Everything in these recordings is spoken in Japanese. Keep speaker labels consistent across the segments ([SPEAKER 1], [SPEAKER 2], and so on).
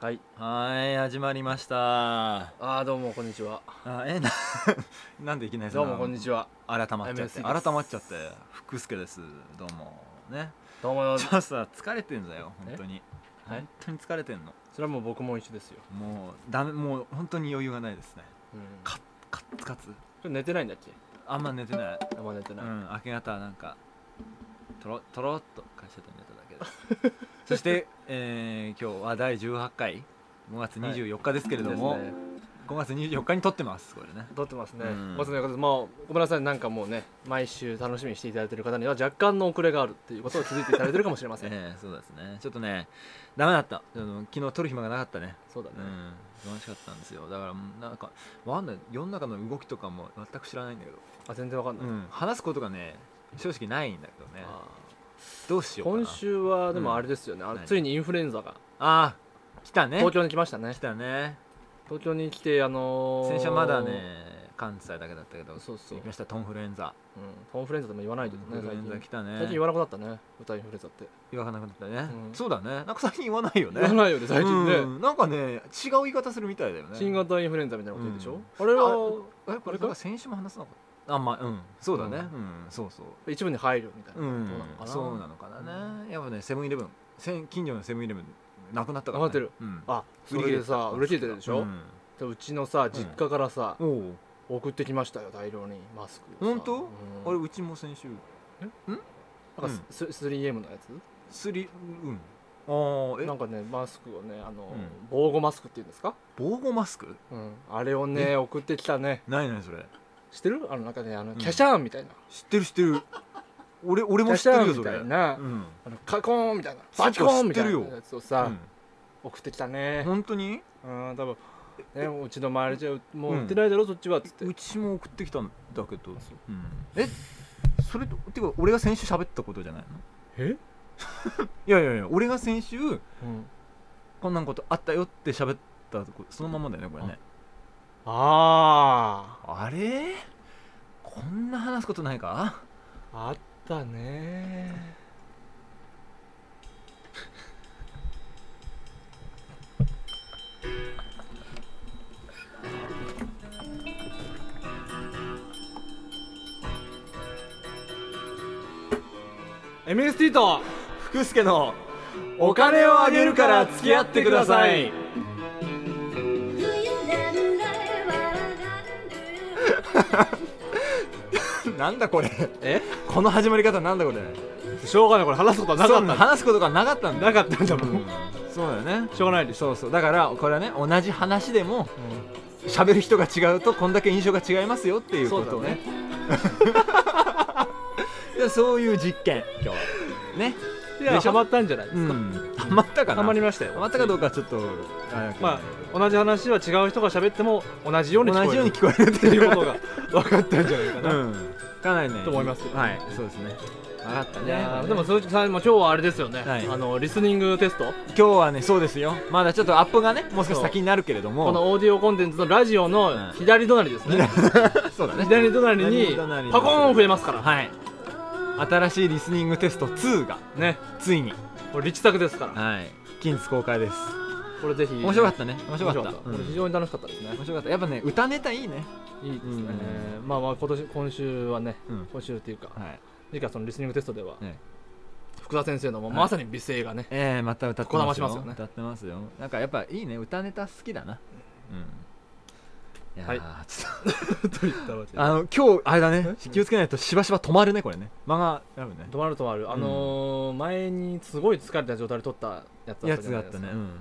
[SPEAKER 1] はい。
[SPEAKER 2] はーい始まりました
[SPEAKER 1] ああどうもこんにちは。
[SPEAKER 2] あえな なんでいきなり
[SPEAKER 1] どうもこんにちは。
[SPEAKER 2] は改まっち
[SPEAKER 1] MS
[SPEAKER 2] ゃっ
[SPEAKER 1] 杉で
[SPEAKER 2] て
[SPEAKER 1] す
[SPEAKER 2] 改まっちゃって福助ですどうもね
[SPEAKER 1] どうも。
[SPEAKER 2] ちょっとさ疲れてんだよ本当に
[SPEAKER 1] はい
[SPEAKER 2] 本当に疲れてんの
[SPEAKER 1] それはもう僕も一緒ですよ。
[SPEAKER 2] もうダメもう本当に余裕がないですね
[SPEAKER 1] うん。こ
[SPEAKER 2] カッカッツカツ
[SPEAKER 1] れ寝てないんだっけ？
[SPEAKER 2] あんま寝てない
[SPEAKER 1] あまだ寝て
[SPEAKER 2] う
[SPEAKER 1] ない。
[SPEAKER 2] ん明け方はなんかとろとろっと会社で寝ただけです そして、えー、今日は第18回5月24日ですけれども、
[SPEAKER 1] ですね
[SPEAKER 2] 5月24日に撮ってますこれね
[SPEAKER 1] 撮ってますね
[SPEAKER 2] うん。
[SPEAKER 1] ご存知の方ですまあごめんなさいなんかもうね毎週楽しみにしていただいている方には若干の遅れがあるっていうことを気づいていただいているかもしれません。
[SPEAKER 2] ええそうですねちょっとねダメだったあの昨日撮る暇がなかったね
[SPEAKER 1] そうだ
[SPEAKER 2] う
[SPEAKER 1] ね。
[SPEAKER 2] ん楽しかったんですよだからなんかわかんない世の中の動きとかも全く知らないんだけど、
[SPEAKER 1] あ全然わかんない。
[SPEAKER 2] うん、話すことがね正直ないんだけどね
[SPEAKER 1] あ
[SPEAKER 2] どうし
[SPEAKER 1] ー
[SPEAKER 2] ようかな
[SPEAKER 1] 今週はでもあれですよね。あの
[SPEAKER 2] 何
[SPEAKER 1] ついにインフルエンザが
[SPEAKER 2] ああ来たね
[SPEAKER 1] 東京に来ましたね
[SPEAKER 2] 来。たね
[SPEAKER 1] 東京に来てあのー
[SPEAKER 2] 先週はまだ。ね関西だけだったけど
[SPEAKER 1] そうそう
[SPEAKER 2] 行きましたトンフルエンザ
[SPEAKER 1] うん。トンフルエンザでも言わない
[SPEAKER 2] ト
[SPEAKER 1] け
[SPEAKER 2] ン
[SPEAKER 1] ど
[SPEAKER 2] フ
[SPEAKER 1] ね
[SPEAKER 2] ルエ
[SPEAKER 1] 最
[SPEAKER 2] ンザ
[SPEAKER 1] 近
[SPEAKER 2] 来。たね
[SPEAKER 1] 最近言わなくなったね。歌インフルエンザって。
[SPEAKER 2] 言わなくなったね、
[SPEAKER 1] うん
[SPEAKER 2] そうだねなんか最近言わないよね
[SPEAKER 1] 言わないよね最近ね。
[SPEAKER 2] うんなんかね違う言い方するみたいだよね
[SPEAKER 1] 新型インフルエンザみたいなこと言うでしょ、あれは
[SPEAKER 2] あえこれ
[SPEAKER 1] れか
[SPEAKER 2] から先週も話すのかあまあうんそうだね
[SPEAKER 1] う
[SPEAKER 2] うん、そうそう
[SPEAKER 1] 一部に配慮みたいな、
[SPEAKER 2] うん
[SPEAKER 1] どうなのかな
[SPEAKER 2] そうなのかなねやっぱねセブンイレブンせん近所のセブンイレブンなくなったから、ね、
[SPEAKER 1] なくなってる
[SPEAKER 2] うん
[SPEAKER 1] あそれでさ売り切れてるでしょ、
[SPEAKER 2] うん
[SPEAKER 1] でうちのさ実家からさ、
[SPEAKER 2] おう
[SPEAKER 1] 送ってきましたよ大量にマスクをさ
[SPEAKER 2] 本当あれ
[SPEAKER 1] うん、
[SPEAKER 2] うちも先週
[SPEAKER 1] なんかス、ス 3M のやつ
[SPEAKER 2] すりうんああえ
[SPEAKER 1] なんかねマスクをねあの、
[SPEAKER 2] うん
[SPEAKER 1] 防護マスクっていうんですか、
[SPEAKER 2] 防護マスク
[SPEAKER 1] うん、あれをね送ってきたね
[SPEAKER 2] ないないそれ
[SPEAKER 1] 知ってるあのなんかねあの
[SPEAKER 2] ん
[SPEAKER 1] キャシャーンみたいな、
[SPEAKER 2] 知ってる知ってる俺俺
[SPEAKER 1] キ
[SPEAKER 2] も
[SPEAKER 1] ャ
[SPEAKER 2] 知っ
[SPEAKER 1] シ
[SPEAKER 2] て
[SPEAKER 1] ャ
[SPEAKER 2] る
[SPEAKER 1] ー
[SPEAKER 2] よ
[SPEAKER 1] ン
[SPEAKER 2] そ
[SPEAKER 1] み
[SPEAKER 2] れ
[SPEAKER 1] たいな
[SPEAKER 2] う、ん
[SPEAKER 1] あのカコーンみたいなバチコーンみたい
[SPEAKER 2] 知ってる
[SPEAKER 1] な
[SPEAKER 2] よ
[SPEAKER 1] やつを
[SPEAKER 2] う
[SPEAKER 1] さ、
[SPEAKER 2] ん
[SPEAKER 1] 送ってきたね
[SPEAKER 2] 本当に
[SPEAKER 1] うん多分ねうちの周りじゃうもう
[SPEAKER 2] うん
[SPEAKER 1] 売ってないだろ、そっちはっつって
[SPEAKER 2] うちも送ってきたんだけど、うん、えそれとてか俺が先週喋ったことじゃないの
[SPEAKER 1] え、
[SPEAKER 2] いやいやいや俺が先週
[SPEAKER 1] うん、
[SPEAKER 2] こんなんことあったよって喋ったとこそのままだよねこれね
[SPEAKER 1] あ
[SPEAKER 2] あれこんな話すことないか
[SPEAKER 1] ああったねー MST と
[SPEAKER 2] 福助の
[SPEAKER 1] お金をあげるから付き合ってください
[SPEAKER 3] Do you never wonder?
[SPEAKER 2] なんだこれ
[SPEAKER 1] え
[SPEAKER 2] この始まり方なんだこれ
[SPEAKER 1] しょうがないこれ話すことはなか
[SPEAKER 2] そ
[SPEAKER 1] っ
[SPEAKER 2] う
[SPEAKER 1] た
[SPEAKER 2] 話すことがなかったんだ
[SPEAKER 1] なかったんだもん、
[SPEAKER 2] うんそうだよね
[SPEAKER 1] しょうがないでしょ、
[SPEAKER 2] そうそうだからこれはね同じ話でも喋る人が違うとこんだけ印象が違いますよっていうことをね いやそういう実験今日はね
[SPEAKER 1] いや
[SPEAKER 2] でしょ
[SPEAKER 1] ハマったんじゃないです
[SPEAKER 2] う
[SPEAKER 1] か、
[SPEAKER 2] んハマったかな
[SPEAKER 1] ハマりましたよ
[SPEAKER 2] ハマったかどうかはちょっとあれだけど
[SPEAKER 1] まあ同じ話は違う人が喋っても同じように聞こえる
[SPEAKER 2] 同じように聞こえるっ
[SPEAKER 1] ってて
[SPEAKER 2] い
[SPEAKER 1] いうう
[SPEAKER 2] こ
[SPEAKER 1] ことと
[SPEAKER 2] が
[SPEAKER 1] が分かったんじゃないかな、
[SPEAKER 2] うんかなりね
[SPEAKER 1] と思いますよ
[SPEAKER 2] はいそうですね分かった
[SPEAKER 1] いや
[SPEAKER 2] ね
[SPEAKER 1] ーでも鈴木さんも今日はあれですよね、
[SPEAKER 2] はい
[SPEAKER 1] あのリスニングテスト
[SPEAKER 2] 今日はねそうですよまだちょっとアップがねもう少し先になるけれども
[SPEAKER 1] このオーディオコンテンツのラジオ
[SPEAKER 2] うん
[SPEAKER 1] の左隣ですね、
[SPEAKER 2] そうだね
[SPEAKER 1] 左隣に
[SPEAKER 2] 左隣に
[SPEAKER 1] パコーン増えますから、
[SPEAKER 2] はい新しいリスニングテスト2が
[SPEAKER 1] ね
[SPEAKER 2] ついに
[SPEAKER 1] これ力作ですから
[SPEAKER 2] はい近日公開です
[SPEAKER 1] これぜひ
[SPEAKER 2] 面白かったね面
[SPEAKER 1] 面
[SPEAKER 2] 白
[SPEAKER 1] 白
[SPEAKER 2] か
[SPEAKER 1] か
[SPEAKER 2] っ
[SPEAKER 1] ったたこれ
[SPEAKER 2] うん
[SPEAKER 1] 非常に楽しかったですね、
[SPEAKER 2] 面白かったやっぱね歌ネタいいね
[SPEAKER 1] いいですね、
[SPEAKER 2] う
[SPEAKER 1] まあまあ今年今週はね、
[SPEAKER 2] うん
[SPEAKER 1] 今週っていうか、
[SPEAKER 2] はい
[SPEAKER 1] 次回そのリスニングテストでは、
[SPEAKER 2] え
[SPEAKER 1] 福田先生のもう
[SPEAKER 2] はい
[SPEAKER 1] まさに美声がね、
[SPEAKER 2] ええまた歌って
[SPEAKER 1] こだ
[SPEAKER 2] ま
[SPEAKER 1] ますし
[SPEAKER 2] よ
[SPEAKER 1] ますよね
[SPEAKER 2] 歌ってますよなんかやっぱいいね歌ネタ好きだなうんいやー、ち ょっと
[SPEAKER 1] といったわけで
[SPEAKER 2] あの今日あれだね気をつけないとしばしば止まるねこれね間があるね
[SPEAKER 1] 止まる止まるあのー前にすごい疲れた状態で撮ったやつだ
[SPEAKER 2] や
[SPEAKER 1] ったじ
[SPEAKER 2] つ
[SPEAKER 1] ゃないで
[SPEAKER 2] があった
[SPEAKER 1] すか
[SPEAKER 2] ね、うん、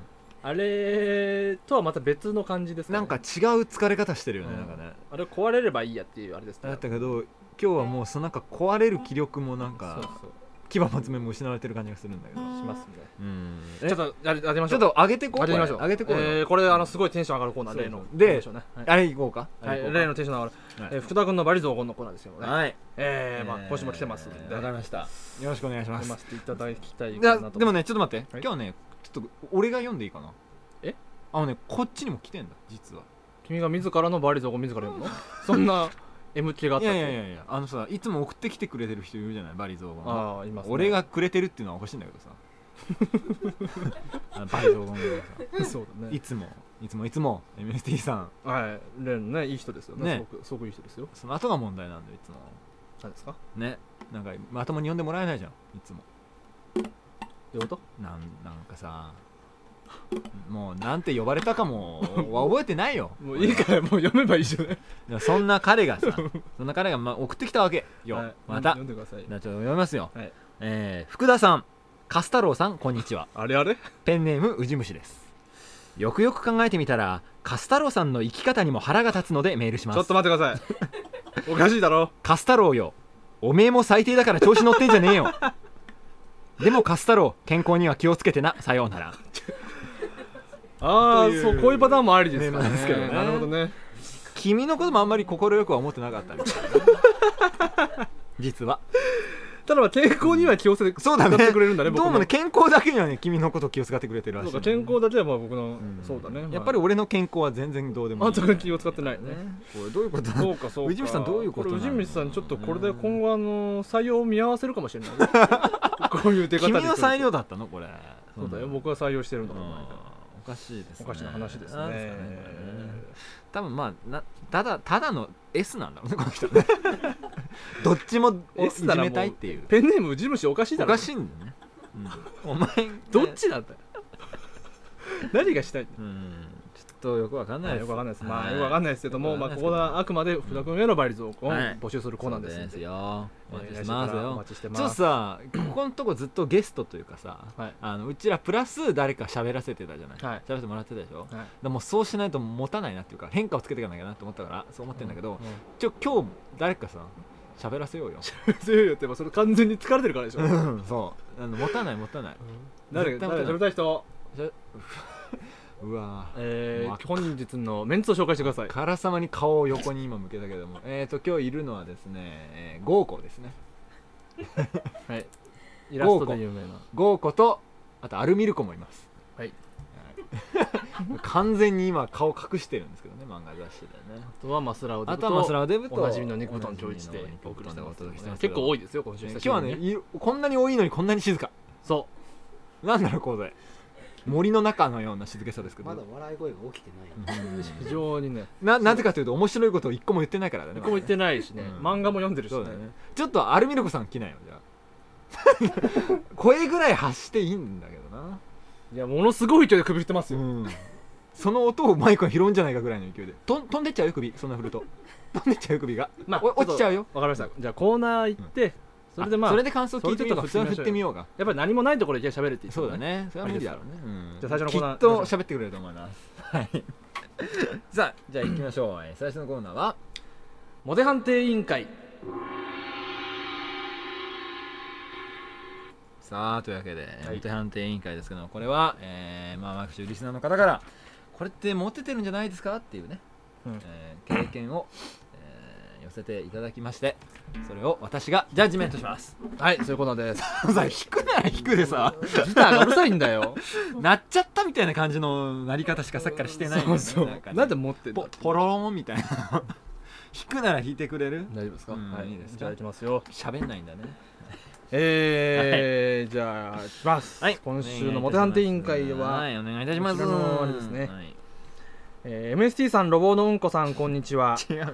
[SPEAKER 1] あれとはまた別の感じですね
[SPEAKER 2] なんか違う疲れ方してるよね、
[SPEAKER 1] うん
[SPEAKER 2] なんかね
[SPEAKER 1] あれ壊れればいいやっていうあれですね
[SPEAKER 2] だったけど今日はもうそのなんか壊れる気力もなん
[SPEAKER 1] そう
[SPEAKER 2] か
[SPEAKER 1] そう
[SPEAKER 2] 牙も爪も失われてる感じがするんだけど
[SPEAKER 1] しますね
[SPEAKER 2] うん
[SPEAKER 1] ちょっとやりやりまし
[SPEAKER 2] ちょ
[SPEAKER 1] ょ
[SPEAKER 2] っ
[SPEAKER 1] う
[SPEAKER 2] と上げてこう
[SPEAKER 1] やりましょう
[SPEAKER 2] これ上げてこうよ、
[SPEAKER 1] えーこれあのすごいテンション上がるコーナー
[SPEAKER 2] そう
[SPEAKER 1] 例の
[SPEAKER 2] で
[SPEAKER 1] やりましょうねはい
[SPEAKER 2] あれ行こうか
[SPEAKER 1] はい
[SPEAKER 2] あれ
[SPEAKER 1] 例
[SPEAKER 2] 行こ
[SPEAKER 1] のテンション上が
[SPEAKER 2] うか
[SPEAKER 1] るえー福田君のバリ雑言のコーナーですよね
[SPEAKER 2] はい
[SPEAKER 1] え
[SPEAKER 2] え
[SPEAKER 1] ーまあ今週も来てますんで
[SPEAKER 2] わかりましたよろしくお願いしま
[SPEAKER 1] 読
[SPEAKER 2] す
[SPEAKER 1] ませていただきたい
[SPEAKER 2] い
[SPEAKER 1] か
[SPEAKER 2] や
[SPEAKER 1] なと
[SPEAKER 2] でもねちょっと待って、
[SPEAKER 1] はい
[SPEAKER 2] 今日はねちょっと俺が読んでいいかな
[SPEAKER 1] え
[SPEAKER 2] あのねこっちにも来てんだ実は
[SPEAKER 1] 君が自らのバリ雑言自ら読 むのそんな M 系があっ
[SPEAKER 2] い
[SPEAKER 1] たっ
[SPEAKER 2] や
[SPEAKER 1] け
[SPEAKER 2] いやいやいやあのさいつも送ってきてくれてる人いるじゃないバリ雑言
[SPEAKER 1] ああいますね
[SPEAKER 2] 俺がくれてるっていうのはおかしいんだけどさあ倍増ごめんなさ
[SPEAKER 1] そうだ
[SPEAKER 2] いい
[SPEAKER 1] ね
[SPEAKER 2] つもいつもいつも MST さん
[SPEAKER 1] はいレンねいい人ですよね
[SPEAKER 2] ね
[SPEAKER 1] すごくすごくいい人ですよ
[SPEAKER 2] その後が問題なんだよいつも
[SPEAKER 1] 何ですか
[SPEAKER 2] ねなんかまともに呼んでもらえないじゃんいつも
[SPEAKER 1] どういうこ
[SPEAKER 2] なんなんかさもうなんて呼ばれたかもは覚えてないよ
[SPEAKER 1] ともういいからもう読めばいいじゃない
[SPEAKER 2] でもそんな彼がさそんな彼がま送ってきたわけよ、
[SPEAKER 1] はい
[SPEAKER 2] また
[SPEAKER 1] 読んでください
[SPEAKER 2] じゃあちょっと読みますよ、
[SPEAKER 1] はい
[SPEAKER 2] えー福田さんカス太郎さんこんにちは
[SPEAKER 1] あれあれ
[SPEAKER 2] ペンネームウジ虫ですよくよく考えてみたらカス太郎さんの生き方にも腹が立つのでメールします
[SPEAKER 1] ちょっと待ってくださ いおかしいだろ
[SPEAKER 2] カス太郎よおめえも最低だから調子乗ってんじゃねえよでもカス太郎健康には気をつけてなさようなら
[SPEAKER 1] ああ
[SPEAKER 2] という
[SPEAKER 1] そうこういうパターンもありですか
[SPEAKER 2] ね
[SPEAKER 1] ら
[SPEAKER 2] なんですけど
[SPEAKER 1] ね
[SPEAKER 2] ね
[SPEAKER 1] なるほどね
[SPEAKER 2] 君のこともあんまり快くは思ってなかったみたいな 実は
[SPEAKER 1] ただまあ健康には気をつけて
[SPEAKER 2] そうだね
[SPEAKER 1] 使ってくれるんだね僕
[SPEAKER 2] どうもね健康だけにはね君のことを気を使ってくれてるら
[SPEAKER 1] そ
[SPEAKER 2] し
[SPEAKER 1] う
[SPEAKER 2] い
[SPEAKER 1] か
[SPEAKER 2] ね
[SPEAKER 1] 健康だけはまあ僕の
[SPEAKER 2] ん
[SPEAKER 1] そうだね
[SPEAKER 2] やっぱり俺の健康は全然どうでもい
[SPEAKER 1] あ
[SPEAKER 2] い
[SPEAKER 1] んたが気を使ってないね
[SPEAKER 2] これどういうことだ
[SPEAKER 1] そうかそうか
[SPEAKER 2] 藤光さんどういうことな
[SPEAKER 1] れ
[SPEAKER 2] の
[SPEAKER 1] 藤光さんちょっとこれで今後あの採用を見合わせるかもしれ ないねこういう出方で来る
[SPEAKER 2] 君
[SPEAKER 1] と
[SPEAKER 2] の裁量だったのこれ
[SPEAKER 1] そうだよ
[SPEAKER 2] ん
[SPEAKER 1] 僕は採用してるんだ
[SPEAKER 2] う
[SPEAKER 1] から
[SPEAKER 2] ん
[SPEAKER 1] お前が
[SPEAKER 2] おかしいです
[SPEAKER 1] お
[SPEAKER 2] ね
[SPEAKER 1] かしな話です
[SPEAKER 2] なん
[SPEAKER 1] ね
[SPEAKER 2] か多分まあなただただの S なんだろうねこの 人ねどっちも
[SPEAKER 1] S
[SPEAKER 2] い
[SPEAKER 1] な
[SPEAKER 2] じ
[SPEAKER 1] らもう
[SPEAKER 2] めたいっていう
[SPEAKER 1] ペンネームジムシおかしいだ
[SPEAKER 2] お
[SPEAKER 1] ろ
[SPEAKER 2] かしいんだよね、うんお前
[SPEAKER 1] どっちなんだよ 何がしたいんだよ
[SPEAKER 2] うんちょっとよくわかんな
[SPEAKER 1] は
[SPEAKER 2] いで
[SPEAKER 1] いよ
[SPEAKER 2] す
[SPEAKER 1] くわかんないですまあよくわかん
[SPEAKER 2] ない
[SPEAKER 1] ないですけども
[SPEAKER 2] よく
[SPEAKER 1] まあ
[SPEAKER 2] わかんないです
[SPEAKER 1] こ
[SPEAKER 2] けど
[SPEAKER 1] こはあくまで福田君への倍率を
[SPEAKER 2] はい
[SPEAKER 1] 募集するコーナーですんで
[SPEAKER 2] よお
[SPEAKER 1] お願
[SPEAKER 2] 待
[SPEAKER 1] い
[SPEAKER 2] ち
[SPEAKER 1] し
[SPEAKER 2] してて
[SPEAKER 1] ま
[SPEAKER 2] ますす
[SPEAKER 1] よお
[SPEAKER 2] よ
[SPEAKER 1] 待ちしてま
[SPEAKER 2] ちょっと
[SPEAKER 1] す
[SPEAKER 2] さここのとこずっとゲストというかさ
[SPEAKER 1] はい
[SPEAKER 2] あのうちらプラス誰か喋らせてたじゃない、
[SPEAKER 1] はい
[SPEAKER 2] 喋らせてもらってたでしょ、だか
[SPEAKER 1] はい
[SPEAKER 2] らもうそうしないと持たないなっていうか変化をつけていかなきゃなと思ったからそう思ってんだけど、
[SPEAKER 1] うん
[SPEAKER 2] ちょ今日誰かさ喋らせようよ
[SPEAKER 1] 強いよ ってもうそれ完全に疲れてるからでしょ
[SPEAKER 2] うんそうあの持たない持たない
[SPEAKER 1] 誰
[SPEAKER 2] 絶対
[SPEAKER 1] 誰喋り
[SPEAKER 2] 持たない
[SPEAKER 1] たい人
[SPEAKER 2] じゃうわぁ
[SPEAKER 1] え
[SPEAKER 2] もう
[SPEAKER 1] ー、本日のメンツを紹介してください
[SPEAKER 2] からさまに顔を横に今向けたけどもえーと今日いるのはですね、えー、豪子ですね
[SPEAKER 1] はいイラストで有名な
[SPEAKER 2] 豪子とあとアルミルコもいます
[SPEAKER 1] はい
[SPEAKER 2] はい 完全に今顔隠してるんですけどね漫画雑誌でね
[SPEAKER 1] あとはマスラオデ
[SPEAKER 2] あ
[SPEAKER 1] ブ
[SPEAKER 2] とはマス
[SPEAKER 1] と
[SPEAKER 2] ラオデブと
[SPEAKER 1] おなじみの肉豚長一でお
[SPEAKER 2] お
[SPEAKER 1] 送
[SPEAKER 2] 送
[SPEAKER 1] り
[SPEAKER 2] り
[SPEAKER 1] し
[SPEAKER 2] してて
[SPEAKER 1] ます,、
[SPEAKER 2] ます
[SPEAKER 1] 結構多
[SPEAKER 2] い
[SPEAKER 1] いですよ今週
[SPEAKER 2] 今日はね
[SPEAKER 1] 久しぶりに
[SPEAKER 2] いこんなに多いのにこんなに静か
[SPEAKER 1] そ
[SPEAKER 2] なんだろうこれ森の中のような静けさですけど
[SPEAKER 4] まだ笑い声が起きてない。
[SPEAKER 1] う非常にね
[SPEAKER 2] ななぜかというと面白いことを一個も言ってないからだね
[SPEAKER 1] 一個も言ってないしね、
[SPEAKER 2] うん
[SPEAKER 1] 漫画も読んでるしね
[SPEAKER 2] そうだねちょっとアルミルコさん来ないよじゃあ 声ぐらい発していいんだけどな、
[SPEAKER 1] いやものすごい勢いで首振ってますよ、
[SPEAKER 2] その音をマイクが拾うんじゃないかぐらいの勢いでとん飛んでっちゃうよ首そんな振ると飛んでっちゃうよ首が、
[SPEAKER 1] まあ
[SPEAKER 2] お落ちちゃうよ
[SPEAKER 1] わかりましたじゃあコーナー行って、それでまあ
[SPEAKER 2] それで感想聞いてみようか普
[SPEAKER 1] そ
[SPEAKER 2] 通
[SPEAKER 1] れ
[SPEAKER 2] は
[SPEAKER 1] でちょ
[SPEAKER 2] 振っ
[SPEAKER 1] っと
[SPEAKER 2] てみようか
[SPEAKER 1] やっぱり何もないところでいきなり喋るって言ってた
[SPEAKER 2] そう
[SPEAKER 1] もん
[SPEAKER 2] だねそれは無理だろうね、うん
[SPEAKER 1] じゃあ最初のコーナー
[SPEAKER 2] きっと喋ってくれると思いますはい さあじゃあ行きまし ょうえー最初のコーナーは
[SPEAKER 1] モテ判定委員会
[SPEAKER 2] さあというわけで、
[SPEAKER 1] はい
[SPEAKER 2] モテ判定委員会ですけどもこれは、えーまあ、毎週リスナーの方からこれってモテてるんじゃないですかっていうね、
[SPEAKER 1] うん
[SPEAKER 2] えー経験を、えー寄せていただきましてそれを私がジャッジメントします
[SPEAKER 1] はいそういうコーナ ーです
[SPEAKER 2] さ引くなら引くで さ
[SPEAKER 1] ギターがうるさいんだ よ
[SPEAKER 2] なっちゃったみたいな感じのなり方しかさっきからしてないんだよねなんかね
[SPEAKER 1] なんで持ってん
[SPEAKER 2] ポ
[SPEAKER 1] の
[SPEAKER 2] ポローンみたいな 引くなら引いてくれる
[SPEAKER 1] 大丈夫ですか、
[SPEAKER 2] うん
[SPEAKER 1] はい
[SPEAKER 2] いいですか
[SPEAKER 1] じゃあいきますよ
[SPEAKER 2] 喋んないんだね
[SPEAKER 1] えーじゃあいきます、今週のモテ判定委員会は、
[SPEAKER 2] はいお願いいたします
[SPEAKER 1] こちらのあれですね
[SPEAKER 2] はい
[SPEAKER 1] えー MST さんロボのうんこさんこんにちは
[SPEAKER 2] 違うよ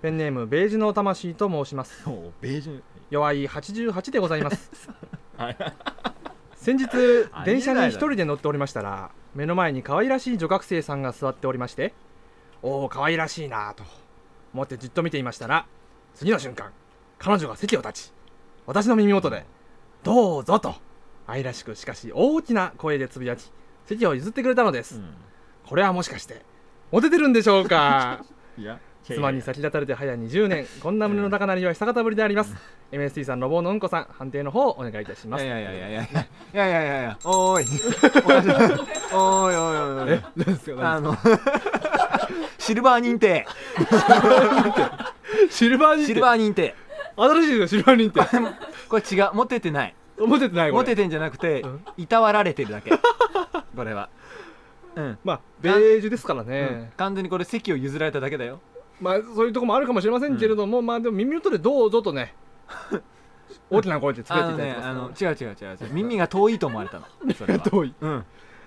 [SPEAKER 1] ペンネームベージュの魂と申します
[SPEAKER 2] もうベージュ
[SPEAKER 1] 弱い88でございます
[SPEAKER 2] はい
[SPEAKER 1] 先日
[SPEAKER 2] ありえないだろ
[SPEAKER 1] 電車に一人で乗っておりましたら目の前に可愛らしい女学生さんが座っておりましておお可愛らしいなぁと思ってじっと見ていましたら次の瞬間彼女が席を立ち私の耳元で「どうぞ」と愛らしくしかし大きな声でつぶやき席を譲ってくれたのです、これはもしかしてモテてるんでしょう か
[SPEAKER 2] いや
[SPEAKER 1] 妻に先立たれて早20年こんな胸の高鳴りは久方ぶりであります、MST さんロボのうんこさん判定の方をお願いいたします
[SPEAKER 2] いやいやいやいやいやいやいやいやお ーいおーいおいおいおいあの シルバー認定
[SPEAKER 1] シルバー認定
[SPEAKER 2] シルバー認定
[SPEAKER 1] 新しいですよシルバー認定
[SPEAKER 2] これ違うモテてない
[SPEAKER 1] モテてないこれ
[SPEAKER 2] モテてんじゃなくて
[SPEAKER 1] ん
[SPEAKER 2] いたわられてるだけこれはうん
[SPEAKER 1] まあベージュですから
[SPEAKER 2] うん
[SPEAKER 1] ね、
[SPEAKER 2] 完全にこれ席を譲られただけだよ
[SPEAKER 1] まあそういうとこもあるかもしれませんけれども、まあでも耳元でどうぞとね大きな声で作
[SPEAKER 2] あ
[SPEAKER 1] って
[SPEAKER 2] の
[SPEAKER 1] いただ
[SPEAKER 2] ね
[SPEAKER 1] いて
[SPEAKER 2] あの
[SPEAKER 1] ま
[SPEAKER 2] 違う違う違う違う耳が遠いと思わ れたのそれ
[SPEAKER 1] す
[SPEAKER 2] は
[SPEAKER 1] か遠い
[SPEAKER 2] うん